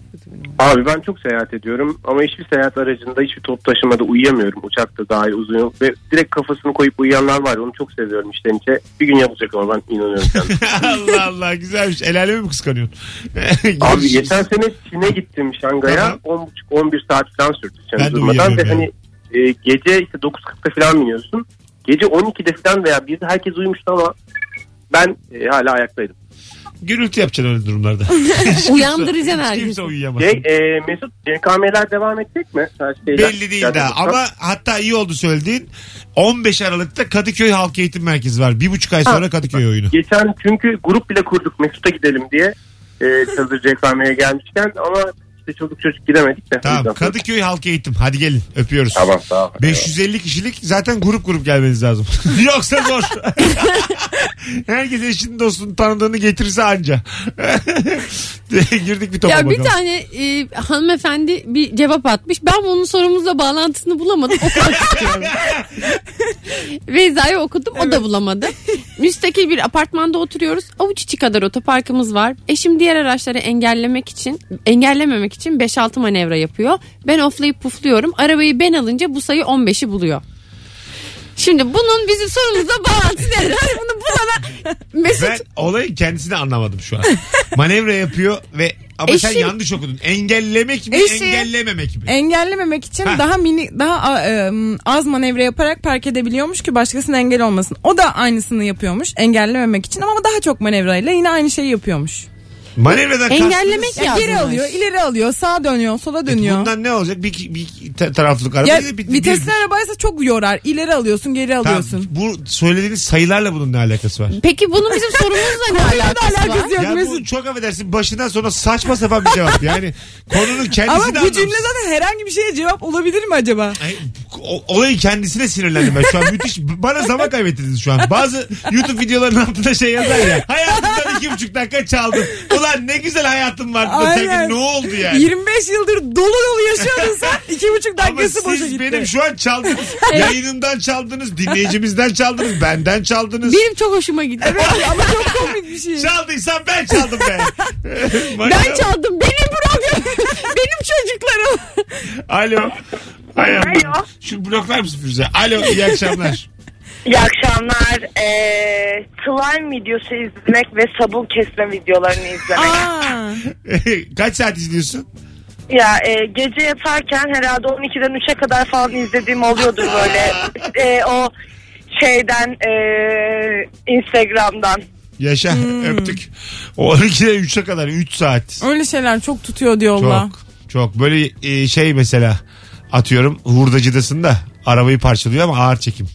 S10: Abi ben çok seyahat ediyorum ama hiçbir seyahat aracında hiçbir top taşımada uyuyamıyorum. Uçakta dahi uzun yol ve direkt kafasını koyup uyuyanlar var. ya, Onu çok seviyorum içten içe. Bir gün yapacak ama ben inanıyorum kendime.
S2: Allah Allah güzelmiş. El aleme mi kıskanıyorsun?
S10: Abi geçen sene Çin'e gittim Şangay'a.
S2: Tamam.
S10: 10.30-11 saat falan sürdü. Çin'e
S2: Ben de
S10: durmadan ve
S2: uyuyamıyorum
S10: hani e, gece işte 9.40'da falan biniyorsun. Gece 12'de falan veya bir herkes uyumuştu ama ben e, hala ayaktaydım.
S2: Gürültü yapacaksın öyle durumlarda.
S3: Uyandıracaksın
S2: Hiç
S3: herkesi.
S2: kimse uyuyamaz.
S10: Şey, e, Mesut CKM'ler devam edecek mi? Ha, şeyler-
S2: Belli değil daha.
S10: Gerçekten.
S2: Ama hatta iyi oldu söylediğin. 15 Aralık'ta Kadıköy Halk Eğitim Merkezi var. Bir buçuk ay sonra Kadıköy oyunu.
S10: Geçen çünkü grup bile kurduk Mesut'a gidelim diye. E, hazır CKM'ye gelmişken ama işte çocuk çocuk gidemedik de.
S2: Tamam Kadıköy Halk Eğitim. Hadi gelin öpüyoruz.
S10: Tamam sağ ol.
S2: 550 kişilik zaten grup grup gelmeniz lazım. Yoksa zor. Herkes eşini dostunu tanıdığını getirirse anca. Girdik bir topa
S3: Ya
S2: bakalım.
S3: bir tane e, hanımefendi bir cevap atmış. Ben bunun sorumuzla bağlantısını bulamadım. Okumak istiyorum. Beyza'yı okudum o da bulamadı. Müstakil bir apartmanda oturuyoruz. Avuç içi kadar otoparkımız var. Eşim diğer araçları engellemek için engellememek için 5-6 manevra yapıyor. Ben oflayıp pufluyorum. Arabayı ben alınca bu sayı 15'i buluyor. Şimdi bunun bizim sorumuzla bağlantısı nedir? Hani bunu bulana Mesut
S2: Ben olayın kendisini anlamadım şu an. Manevra yapıyor ve ama sen
S3: Eşim-
S2: yanlış okudun. Engellemek mi
S4: Eşim- E-
S2: engellememek mi?
S4: Engellememek için
S2: Heh.
S4: daha mini daha a- e, m, az manevra yaparak park edebiliyormuş ki başkasının engel olmasın. O da aynısını yapıyormuş engellememek için ama daha çok manevrayla yine aynı şeyi yapıyormuş.
S2: Manevradan kastınız-
S3: engellemek
S4: Ya
S3: yazmış.
S4: geri alıyor, ileri alıyor, sağa dönüyor, sola dönüyor.
S2: Bundan ne olacak? Bir, bir ta- taraflık araba.
S4: ya
S2: Bir- bir-
S4: vitesli
S2: bir-
S4: arabaysa çok yorar. İleri alıyorsun, geri
S2: Tamam,
S4: alıyorsun.
S2: bu söylediğiniz sayılarla bunun ne alakası var?
S3: Peki bunun bizim sorumuzla ne alakası var?
S4: Alakası yok
S2: Ya
S4: Mesut.
S2: bu çok affedersin başından sonra saçma sapan bir cevap. Yani konunun kendisi
S4: Ama
S2: de
S4: bu cümle
S2: anlamsız.
S4: zaten herhangi bir şeye cevap olabilir mi acaba?
S2: Ay, o- olayın kendisine sinirlendim ben şu an müthiş. Bana zaman kaybettiniz şu an. Bazı YouTube videoların altında şey yazar ya. Hayatımdan iki buçuk dakika çaldım. Ulan ne güzel hayatım vardı da sevgili,
S4: Aynen.
S2: ne oldu yani?
S4: 25 yıldır dolu dolu yaşıyordun sen. iki buçuk
S2: Ama
S4: dakikası boşa
S2: siz
S4: gitti.
S2: benim şu an çaldınız. Yayınımdan çaldınız, dinleyicimizden çaldınız, benden çaldınız.
S3: Benim çok hoşuma gitti.
S4: Ama çok komik bir şey.
S2: Çaldıysam ben çaldım be.
S3: Ben çaldım. Benim blogum. Benim çocuklarım.
S2: Alo. Hay Allah.
S8: Alo.
S2: Şu bloklar mısın Firuze? Alo iyi akşamlar.
S8: İyi akşamlar. Ee, slime videosu izlemek ve sabun kesme videolarını izlemek.
S4: Aa,
S2: Kaç saat izliyorsun?
S8: Ya e, gece yatarken herhalde 12'den 3'e kadar falan izlediğim oluyordur böyle. E, o şeyden e, Instagram'dan.
S2: Yaşa
S4: Hmm.
S2: öptük. O 12'den 3'e kadar 3 saat.
S4: öyle şeyler çok tutuyor diyor Allah.
S2: Çok. Çok. Böyle e, şey mesela atıyorum hurdacıdasın da arabayı parçalıyor ama ağır çekim.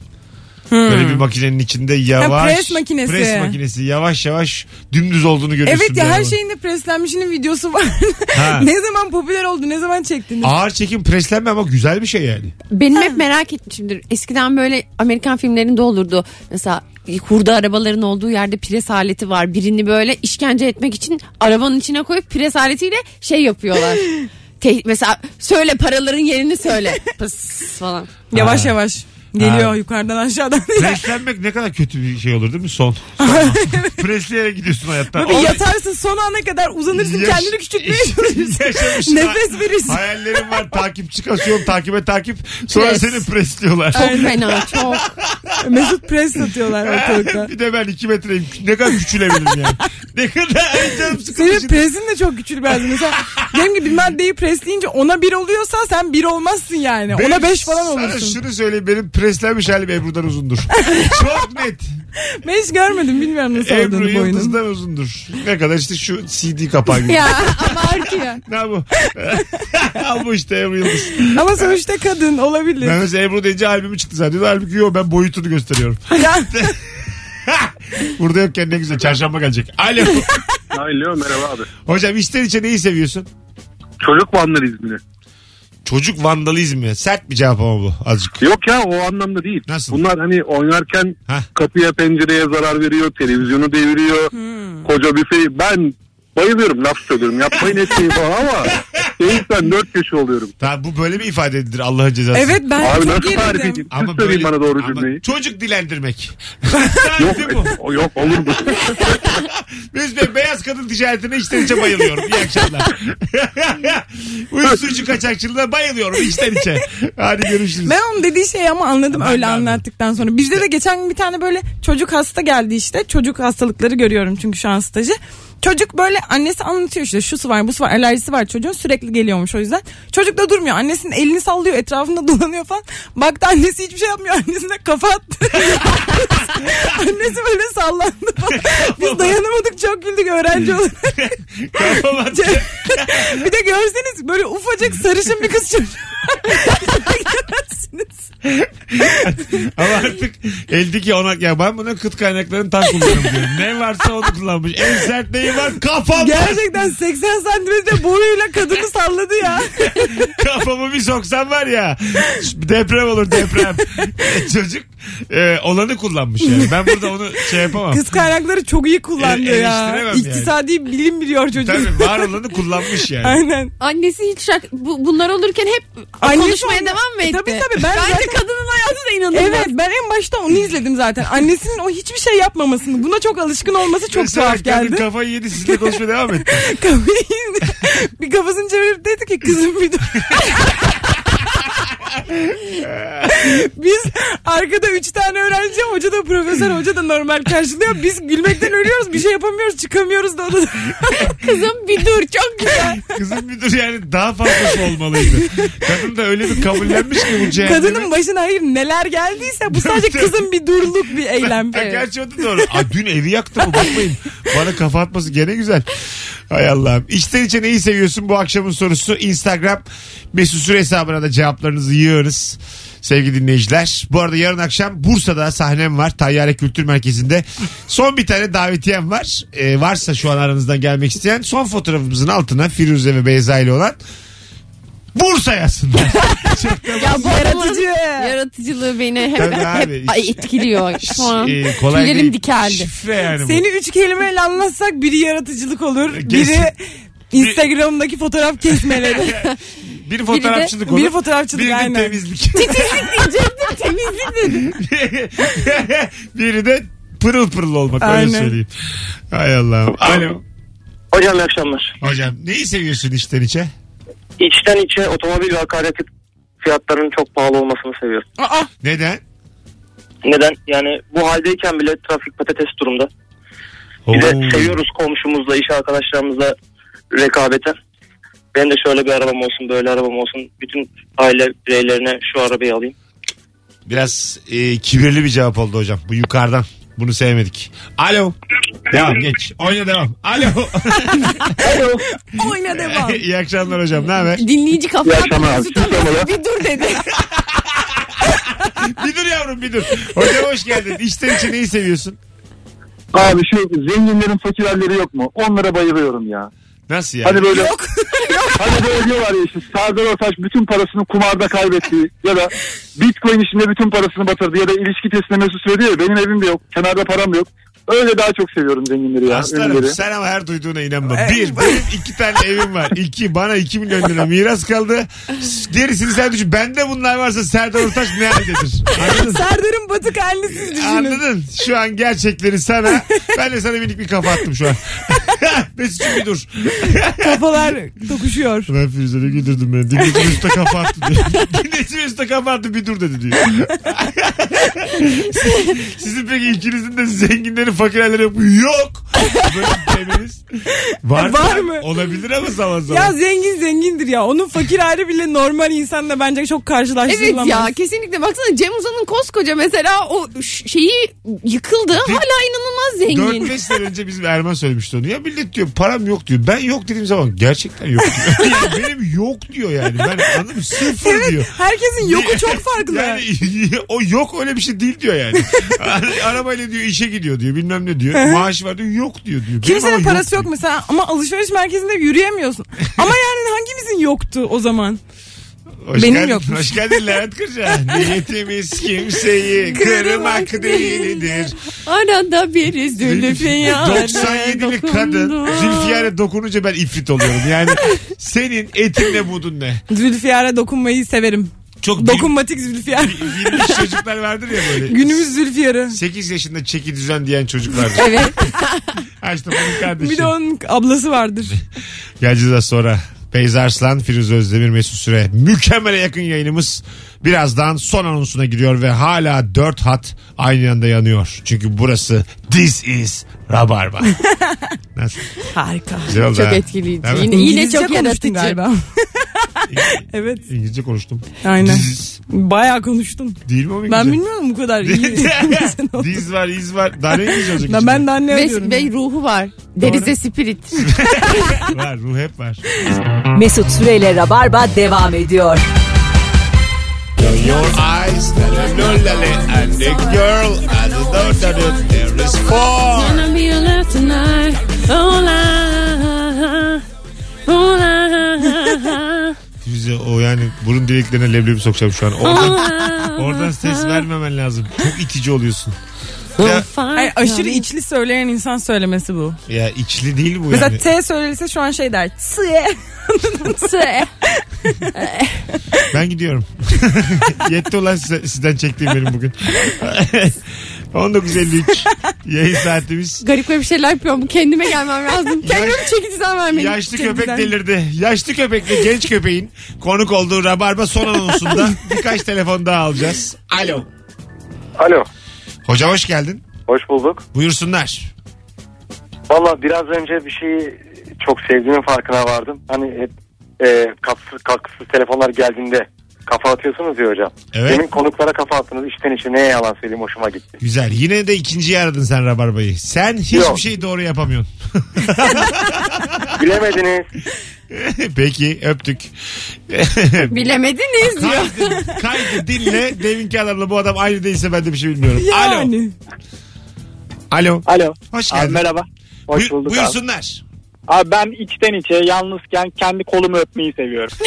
S2: Böyle bir makinenin içinde yavaş.
S4: Hmm. pres makinesi.
S2: Pres makinesi yavaş yavaş dümdüz olduğunu görüyorsun.
S4: Evet ya her şey-
S2: arabanın.
S4: şeyin de preslenmişinin videosu var.
S2: Ha.
S4: ne zaman popüler oldu, ne zaman çektiniz?
S2: Ağır çekim preslenme ama güzel bir şey yani.
S3: Benim hep merak etmişimdir. Eskiden böyle Amerikan filmlerinde olurdu. Mesela hurda arabaların olduğu yerde pres aleti var. Birini böyle işkence etmek için arabanın içine koyup pres aletiyle şey yapıyorlar. Te- mesela söyle paraların yerini söyle. Pıs falan.
S4: Yavaş
S2: Ha.
S4: yavaş. Geliyor
S2: Ha.
S4: yukarıdan aşağıdan.
S2: Preslenmek ne kadar kötü bir şey olur değil mi son? Presleyerek gidiyorsun hayatta.
S4: Tabii yatarsın son ana kadar uzanırsın
S2: Yaş-
S4: kendini küçültmeye çalışırsın.
S2: Yaşamış.
S4: Nefes verirsin.
S2: Hayallerim var takip çıkasyon takibe takip sonra
S4: Pres.
S2: seni presliyorlar.
S3: Çok fena çok.
S4: Mesut pres satıyorlar ortalıkta.
S2: bir de ben 2 metreyim. Ne kadar küçülebilirim yani. ne kadar Ay canım
S4: Senin
S2: sıkılmış.
S4: presin de çok küçük bence. Mesela benim gibi maddeyi presleyince ona bir oluyorsa sen bir olmazsın yani.
S2: Benim
S4: ona beş falan
S2: Sana
S4: olursun.
S2: şunu söyleyeyim benim preslenmiş halim Ebru'dan uzundur. Çok net.
S4: Ben hiç görmedim bilmiyorum nasıl
S2: Ebru
S4: olduğunu boyunun.
S2: Yıldız'dan uzundur. Ne kadar işte şu CD kapağı gibi.
S3: ya ama artıyor.
S2: ne bu? Al bu işte Ebru Yıldız.
S4: Ama sonuçta kadın olabilir.
S2: Ben mesela Ebru deyince albümü çıktı zannediyordu. Halbuki yok ben boyutunu gösteriyorum.
S4: Ya,
S2: Burada yokken ne güzel çarşamba gelecek. Alo.
S11: Alo merhaba abi.
S2: Hocam içten içe neyi seviyorsun?
S11: Çocuk vandalizmini.
S2: Çocuk vandalizmi. Sert bir cevap ama bu azıcık.
S11: Yok ya o anlamda değil.
S2: Nasıl?
S11: Bunlar hani oynarken
S2: Hah.
S11: kapıya pencereye zarar veriyor, televizyonu deviriyor, koca büfeyi. Ben bayılıyorum laf söylüyorum yapmayın etmeyin falan ama değilsen dört kişi oluyorum.
S2: Tamam, bu böyle bir ifade edilir Allah'ın cezası.
S4: evet ben
S11: abi
S4: çok
S11: nasıl tarif
S4: gerildim.
S11: edeyim? Siz söyleyin bana doğru
S2: ama
S11: cümleyi.
S2: çocuk dilendirmek.
S11: Yok,
S2: Değil mi bu?
S11: e, yok olur mu?
S2: Biz de beyaz kadın ticaretine içten içe bayılıyorum. İyi akşamlar. Uyuşturucu kaçakçılığına bayılıyorum içten içe. Hadi görüşürüz.
S4: Ben onun dediği şeyi ama anladım
S2: Ben de
S4: öyle
S2: anladım.
S4: anlattıktan sonra. Bizde de geçen gün bir tane böyle çocuk hasta geldi işte. Çocuk hastalıkları görüyorum çünkü şu an stajı. Çocuk böyle annesi anlatıyor işte şu su var bu su var alerjisi var çocuğun sürekli geliyormuş o yüzden. Çocuk da durmuyor annesinin elini sallıyor etrafında dolanıyor falan. Baktı annesi hiçbir şey yapmıyor annesine kafa attı. annesi böyle sallandı falan. Biz dayanamadık çok güldük öğrenci olarak.
S2: Kafam attı.
S4: bir de görseniz böyle ufacık sarışın bir kız çocuğu. Göremezsiniz.
S2: Ama artık eldeki onak ya ben buna kıt kaynaklarını tam kullanıyorum diyorum. Ne varsa onu kullanmış. En sert neyi var? Kafam var.
S4: Gerçekten 80 santimetre boyuyla kadını salladı ya.
S2: Kafamı bir soksam var ya deprem olur deprem. E, Çocuk e, olanı kullanmış yani. Ben burada onu şey yapamam.
S4: Kız kaynakları çok iyi kullanıyor
S2: E-
S4: ya.
S2: eleştiremem yani.
S4: İktisadi bilim biliyor çocuk.
S2: Tabii var olanı kullanmış yani.
S4: Aynen.
S3: Annesi hiç şak, bu- bunlar olurken hep
S4: Annesi
S3: konuşmaya
S4: onu-
S3: devam mı
S4: E,
S3: etti?
S4: tabii, tabii. Ben
S3: Bence
S4: zaten-
S3: kadının hayatı da inanılmaz.
S4: Evet ben en başta onu izledim zaten. Annesinin o hiçbir şey yapmamasını buna çok alışkın olması çok
S2: Mesela
S4: tuhaf
S2: kadın
S4: geldi.
S2: Kafayı yedi sizinle konuşmaya devam etti.
S4: Kafayı- bir kafasını çevirip dedi ki kızım bir dur. Biz arkada üç tane öğrenci hoca da profesör hoca da normal karşılıyor. Biz gülmekten ölüyoruz bir şey yapamıyoruz çıkamıyoruz da odadan.
S3: Kızım bir dur çok güzel.
S2: Kızım bir dur yani daha fazlası olmalıydı. Kadın da öyle bir kabullenmiş ki bu cehennemi.
S4: Kadının başına hayır neler geldiyse bu sadece kızın bir durluk bir eylem.
S2: Ha, gerçi o da doğru. Aa, dün evi yaktı mı bakmayın. Bana kafa atması gene güzel. Hay Allah'ım. İçten içe neyi seviyorsun bu akşamın sorusu. Instagram mesut süre hesabına da cevaplarınızı yığınız. Sevgili dinleyiciler. Bu arada yarın akşam Bursa'da sahnem var. Tayyare Kültür Merkezi'nde. Son bir tane davetiyem var. Ee, varsa şu an aranızdan gelmek isteyen son fotoğrafımızın altına Firuze ve Beyza ile olan Bursa yazsınlar.
S3: Ya bu
S4: Yaratıcı.
S3: adamın Yaratıcılığı beni hep,
S2: Tabii
S3: hep
S2: abi.
S3: ay, etkiliyor şu an.
S2: Ee, kolay
S3: Tüylerim
S2: değil.
S3: dikeldi.
S2: Şifre yani bu.
S4: Seni üç kelimeyle anlatsak biri yaratıcılık olur.
S2: Kesin.
S4: Biri Instagram'daki fotoğraf kesmeleri.
S2: Bir fotoğrafçılık olur.
S4: biri fotoğrafçılık,
S2: biri de
S4: aynen.
S2: temizlik.
S3: Temizlik diyecektim temizlik dedim.
S2: biri de pırıl pırıl olmak öyle
S4: Aynen.
S2: söyleyeyim. Hay Allah'ım. Alo.
S7: Hocam iyi akşamlar.
S2: Hocam neyi seviyorsun içten içe?
S7: İçten içe otomobil ve akaryakıt fiyatlarının çok pahalı olmasını seviyorum.
S4: Aa,
S2: Neden?
S7: Neden? Yani bu haldeyken bile trafik patates durumda. Bir
S2: Oo.
S7: de seviyoruz komşumuzla, iş arkadaşlarımızla rekabeten. Ben de şöyle bir arabam olsun, böyle arabam olsun. Bütün aile bireylerine şu arabayı alayım.
S2: Biraz e, kibirli bir cevap oldu hocam. Bu yukarıdan. Bunu sevmedik. Alo. Devam geç. Oyna devam. Alo.
S4: oyna devam.
S2: İyi akşamlar hocam. Ne haber?
S3: Dinleyici kafaya
S11: akşamlar.
S3: Mesut abi bir dur dedi.
S2: bir dur yavrum bir dur. Hocam hoş geldin. İçten içe neyi seviyorsun?
S11: Abi şu zenginlerin fakirleri yok mu? Onlara bayılıyorum ya.
S2: Nasıl yani?
S11: Hani böyle hani böyle diyorlar ya işte Serdar Ortaç bütün parasını kumarda kaybetti ya da Bitcoin işinde bütün parasını batırdı ya da ilişki testine Mesut söyledi ya benim evim de yok kenarda param da yok.
S5: Öyle daha çok seviyorum zenginleri ya.
S2: Aslanım
S5: ünlüleri.
S2: sen ama her duyduğuna inanma. Bir, benim iki tane evim var. İki, bana iki milyon lira miras kaldı. Gerisini sen düşün. Bende bunlar varsa Serdar Ortaç ne haldedir? Anladın?
S4: Serdar'ın batık halini siz düşünün.
S2: Anladın? Şu an gerçekleri sana. Ben de sana minik bir kafa attım şu an. Mesut'cum bir dur.
S4: Kafalar tokuşuyor.
S2: Ben Firuze'de güldürdüm beni. Dinleyici usta kafa attı diyor. Dinleyici usta kafa attı bir dur dedi diyor. Sizin peki ikinizin de zenginleri fakirleri yok mu? Yok. Böyle bir demeniz. Var,
S4: Var
S2: da-
S4: mı?
S2: Olabilir ama zaman zaman.
S4: Ya zengin zengindir ya. Onun fakir hali bile normal insanla bence çok
S3: Evet
S4: karşılaştırılamaz.
S3: ya kesinlikle baksana Cem Uzan'ın koskoca mesela o ş- şeyi yıkıldı hala inanılmaz zengin.
S2: 4-5 sene önce bizim Erman söylemişti onu. Ya millet diyor param yok diyor. Ben yok dediğim zaman gerçekten yok diyor. yani benim yok diyor yani. Ben anladın mı? Sıfır diyor.
S4: Herkesin yoku çok farklı.
S2: Yani o yok öyle bir şey değil diyor yani. Ara- Arabayla diyor işe gidiyor diyor bilmem ne diyor. Maaşı var diyor yok diyor. diyor. Benim ama
S4: Kimsenin parası yok
S2: diyor.
S4: mesela ama alışveriş merkezinde yürüyemiyorsun. ama yani hangimizin yoktu o zaman?
S2: Hoş
S4: Benim
S2: geldin,
S4: yokmuş.
S2: Hoş geldin Levent Kırca. Niyetimiz kimseyi kırmak değildir.
S3: Arada bir zülfün yarı
S2: 97'li
S3: dokundu.
S2: kadın Zülfiyar'a dokununca ben ifrit oluyorum. Yani senin etin ne budun ne?
S4: Zülfiyar'a dokunmayı severim.
S2: Çok
S4: Dokunmatik Zülfiyar.
S2: bilmiş çocuklar vardır ya böyle.
S4: Günümüz Zülfiyar'ı.
S2: 8 yaşında çeki düzen diyen çocuklardır.
S3: Evet.
S2: Açtım onun kardeşi.
S4: Bir de onun ablası vardır.
S2: Geleceğiz az sonra. Beyza Arslan, Firuze Özdemir, Mesut Süre. Mükemmele yakın yayınımız birazdan son anonsuna giriyor ve hala dört hat aynı anda yanıyor. Çünkü burası This is Rabarba. Nasıl?
S4: Harika.
S2: Güzel oldu
S3: Çok
S2: ha.
S3: etkileyici.
S2: Değil mi?
S3: Yine, yine
S4: İngilizce
S3: çok
S4: konuştun
S3: yaratıcı.
S4: galiba. evet
S2: İngilizce konuştum.
S4: aynen.
S2: Diz.
S4: Bayağı konuştun.
S2: Değil mi o İngilizce?
S4: Ben bilmiyorum bu kadar. İngilizce.
S2: Diz var, iz var. Daha ne İngilizce olacak?
S4: Ben, ben
S2: şimdi?
S4: de anne
S3: Ve,
S4: arıyorum.
S3: ve ruhu var. Derize spirit.
S2: Var, ruh hep var.
S1: Mesut Süreyle Rabarba devam ediyor.
S2: Your eyes, la la la la la, and the girl, and the door, da da, there is four. Bize o yani burun deliklerine leblebi sokacağım şu an. Oradan, oradan ses vermemen lazım. Çok itici oluyorsun. Ya,
S4: Ay, aşırı içli söyleyen insan söylemesi bu.
S2: ya içli değil bu
S4: Mesela
S2: yani.
S4: T söylese şu an şey der. Sıye.
S2: Ben gidiyorum. Yetti ulan size- sizden çektiğim benim bugün. 19.53 yayın saatimiz.
S3: Garip bir şeyler yapıyorum. Kendime gelmem lazım. Kendime çeki düzen vermeliyim.
S2: Yaşlı
S4: Kendiden.
S2: köpek delirdi. Yaşlı köpekle genç köpeğin konuk olduğu Rabarba son anonsunda birkaç telefon daha alacağız. Alo.
S6: Alo.
S2: Hocam hoş geldin.
S6: Hoş bulduk.
S2: Buyursunlar.
S6: Valla biraz önce bir şeyi çok sevdiğimin farkına vardım. Hani hep e, kapsız kalksız telefonlar geldiğinde kafa atıyorsunuz ya hocam.
S2: Evet.
S6: Benim konuklara kafa attınız işten işe neye yalan söyleyeyim hoşuma gitti.
S2: Güzel. Yine de ikinciyi aradın sen Rabarba'yı. Sen hiçbir
S6: Yok.
S2: şey doğru yapamıyorsun.
S6: Bilemediniz.
S2: Peki öptük.
S3: Bilemediniz diyor.
S2: kaydı, kaydı dinle. Deminki adamla bu adam aynı değilse ben de bir şey bilmiyorum. Alo.
S4: Yani.
S2: Alo.
S5: Alo.
S2: Hoş
S5: Abi
S2: geldin.
S5: merhaba. Hoş
S2: Buy-
S5: bulduk abi.
S2: buyursunlar.
S5: Abi ben içten içe yalnızken kendi kolumu öpmeyi seviyorum.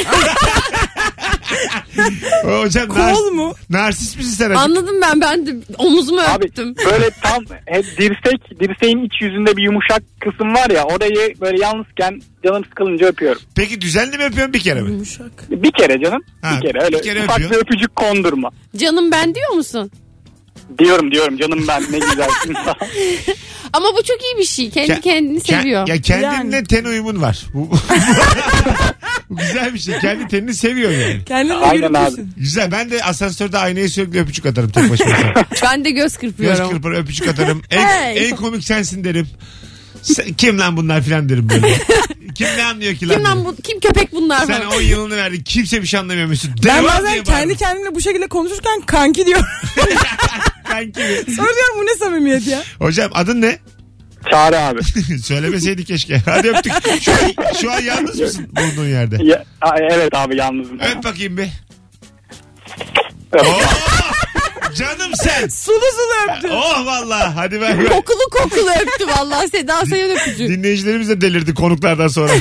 S2: Hocam
S4: Kol
S2: nar-
S4: mu?
S2: narsist misin sen? acaba?
S3: Anladım ben. Ben de omuzumu
S5: abi
S3: öptüm.
S5: böyle tam hep dirsek, dirseğin iç yüzünde bir yumuşak kısım var ya orayı böyle yalnızken canım sıkılınca öpüyorum.
S2: Peki düzenli mi öpüyorsun bir kere mi?
S5: Bir kere canım.
S2: Ha,
S5: bir kere
S2: bir
S5: öyle
S2: kere
S5: ufak
S2: öpüyor.
S5: bir öpücük kondurma.
S3: Canım ben diyor musun?
S5: Diyorum diyorum canım ben ne güzel.
S3: Ama bu çok iyi bir şey. Kendi
S2: Ke-
S3: kendini
S2: Ke-
S3: seviyor.
S2: Ya kendinle
S4: Yani.
S2: ten uyumun var. Bu, bu güzel bir şey. Kendi tenini seviyor yani.
S4: Kendinle
S5: Aynen abi.
S4: yürümüşsün.
S2: Güzel. Ben de asansörde aynaya sürekli öpücük atarım tek başıma.
S3: ben de göz
S2: Göz
S3: kırpıyorum.
S2: kırpar öpücük atarım. En,
S3: Hey.
S2: en komik sensin derim. Sen- kim lan bunlar filan derim böyle. kim ne anlıyor ki lan?
S3: Kim lan
S2: derim.
S3: bu? Kim köpek bunlar?
S2: Sen
S3: falan.
S2: 10 yılını verdin. Kimse bir şey anlamıyor Mesut.
S4: Ben
S2: Devam
S4: bazen
S2: diye
S4: kendi
S2: bağırıyorum.
S4: kendimle bu şekilde konuşurken kanki diyor.
S2: Kanki.
S4: Sonra diyorum bu ne samimiyet ya.
S2: Hocam adın ne?
S5: Çağrı abi.
S2: Söylemeseydik keşke. Hadi öptük. Şu an, şu an yalnız mısın bulunduğun yerde?
S5: Ya- Aa, evet abi yalnızım.
S2: Öp bakayım bir. Oo! Canım sen.
S4: Sulu sulu öptü.
S2: Oh valla. Hadi ben.
S3: Kokulu kokulu öptü vallahi Seda Sayan öpücü.
S2: Dinleyicilerimiz de delirdi konuklardan sonra.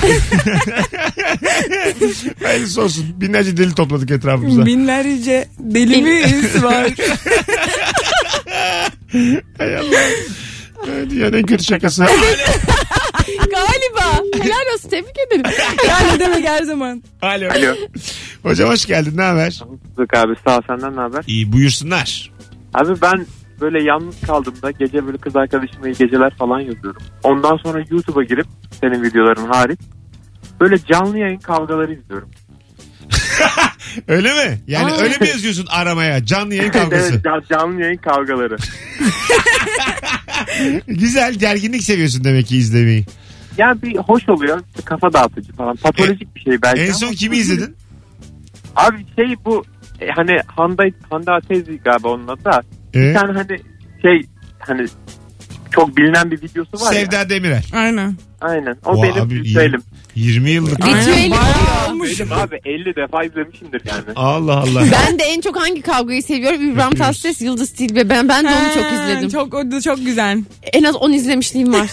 S2: Hayırlısı olsun. Binlerce deli topladık etrafımıza.
S4: Binlerce delimiz var.
S2: Hay Allah. Dünyanın en kötü şakası.
S3: Galiba. Helal olsun tebrik ederim.
S4: Yani ne demek her zaman.
S2: Alo. Hocam hoş geldin. Ne haber?
S12: Bulduk abi sağ ol senden ne haber?
S2: İyi buyursunlar.
S12: Abi ben böyle yalnız kaldığımda gece böyle kız arkadaşıma iyi geceler falan yazıyorum. Ondan sonra YouTube'a girip senin videoların hariç böyle canlı yayın kavgaları izliyorum.
S2: Öyle mi? Yani
S12: Aa.
S2: öyle mi yazıyorsun aramaya? Canlı yayın kavgası.
S12: Evet, can- canlı yayın kavgaları.
S2: Güzel gerginlik seviyorsun demek ki izlemeyi.
S12: Yani bir hoş oluyor işte kafa dağıtıcı falan patolojik bir şey belki.
S2: E, En son
S12: ama-
S2: kimi izledin?
S12: Abi şey bu e, hani Hande, Hande Atezi galiba onun adı da.
S2: Ee?
S12: Bir tane hani şey hani çok bilinen bir videosu var ya.
S2: Sevda Demirel.
S4: Aynen.
S12: Aynen. O
S2: Vay
S12: benim
S2: abi,
S12: ritüelim.
S2: 20 yıllık.
S3: Ritüeli.
S12: Benim abi 50 defa izlemişimdir yani.
S2: Allah Allah.
S3: Ben de en çok hangi kavgayı seviyorum? İbrahim
S2: Öpüyoruz.
S3: Tatlıses, Yıldız Tilbe. Ben ben de onu çok
S4: Ha,
S3: izledim.
S4: Çok, o da çok güzel.
S3: En az 10 izlemişliğim var.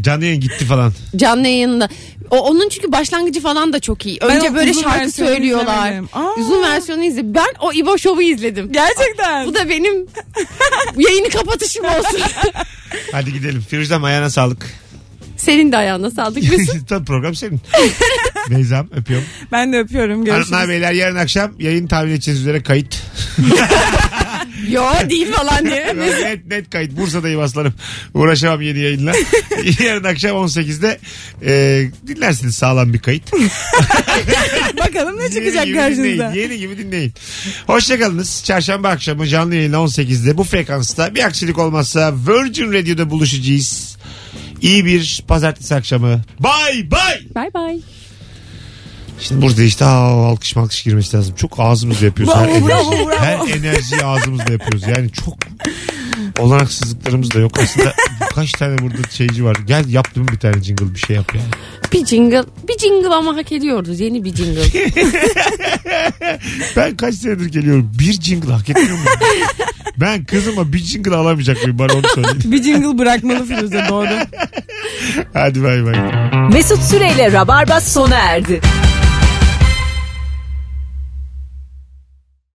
S2: Canlı yayın gitti falan.
S3: Canlı yayında. O, onun çünkü başlangıcı falan da çok iyi.
S4: Ben
S3: Önce
S4: o
S3: böyle
S4: uzun
S3: şarkı
S4: versiyonu
S3: söylüyorlar.
S4: izlemedim. Aa.
S3: Uzun versiyonu izledim. Ben o İbo Show'u izledim.
S4: Gerçekten.
S3: Bu da benim yayını kapatışım olsun.
S2: Hadi gidelim. Firuzem ayağına sağlık.
S3: Senin de ayağına sağlık. Mesut.
S2: Tabii program senin. Beyza'm öpüyorum.
S4: Ben de öpüyorum.
S2: Hanımlar
S4: Görüşürüz.
S2: beyler yarın akşam yayın tahmin edeceğiz üzere kayıt.
S3: Yo değil falan diye.
S2: net net kayıt. Bursa'dayım aslanım. Uğraşamam yeni yayınla. yarın akşam 18'de e, dinlersiniz sağlam bir kayıt.
S4: Bakalım ne
S2: Yeni
S4: çıkacak
S2: gibi
S4: karşınıza.
S2: dinleyin. Yeni gibi dinleyin. Hoşçakalınız. Çarşamba akşamı canlı yayınla 18'de bu frekansta bir aksilik olmazsa Virgin Radio'da buluşacağız. İyi bir pazartesi akşamı. Bay bay.
S3: Bay bay.
S2: Şimdi burada işte aa, alkış malkış girmesi lazım. Çok ağzımızla yapıyoruz. her,
S4: Bravo, bravo,
S2: enerji-
S4: bravo.
S2: her enerjiyi ağzımızla yapıyoruz. Yani çok olanaksızlıklarımız da yok. Aslında kaç tane burada şeyci var. Gel yaptım bir tane jingle bir şey yap yani.
S3: Bir jingle. Bir jingle ama hak ediyordu. Yeni bir jingle.
S2: Ben kaç senedir geliyorum. Bir jingle hak etmiyor muyum? ben kızıma bir jingle alamayacak mıyım? Bana onu söyleyin.
S4: Bir jingle bırakmalı Firuze doğru.
S2: Hadi bay bay.
S1: Mesut Süreyle Rabarba sona erdi.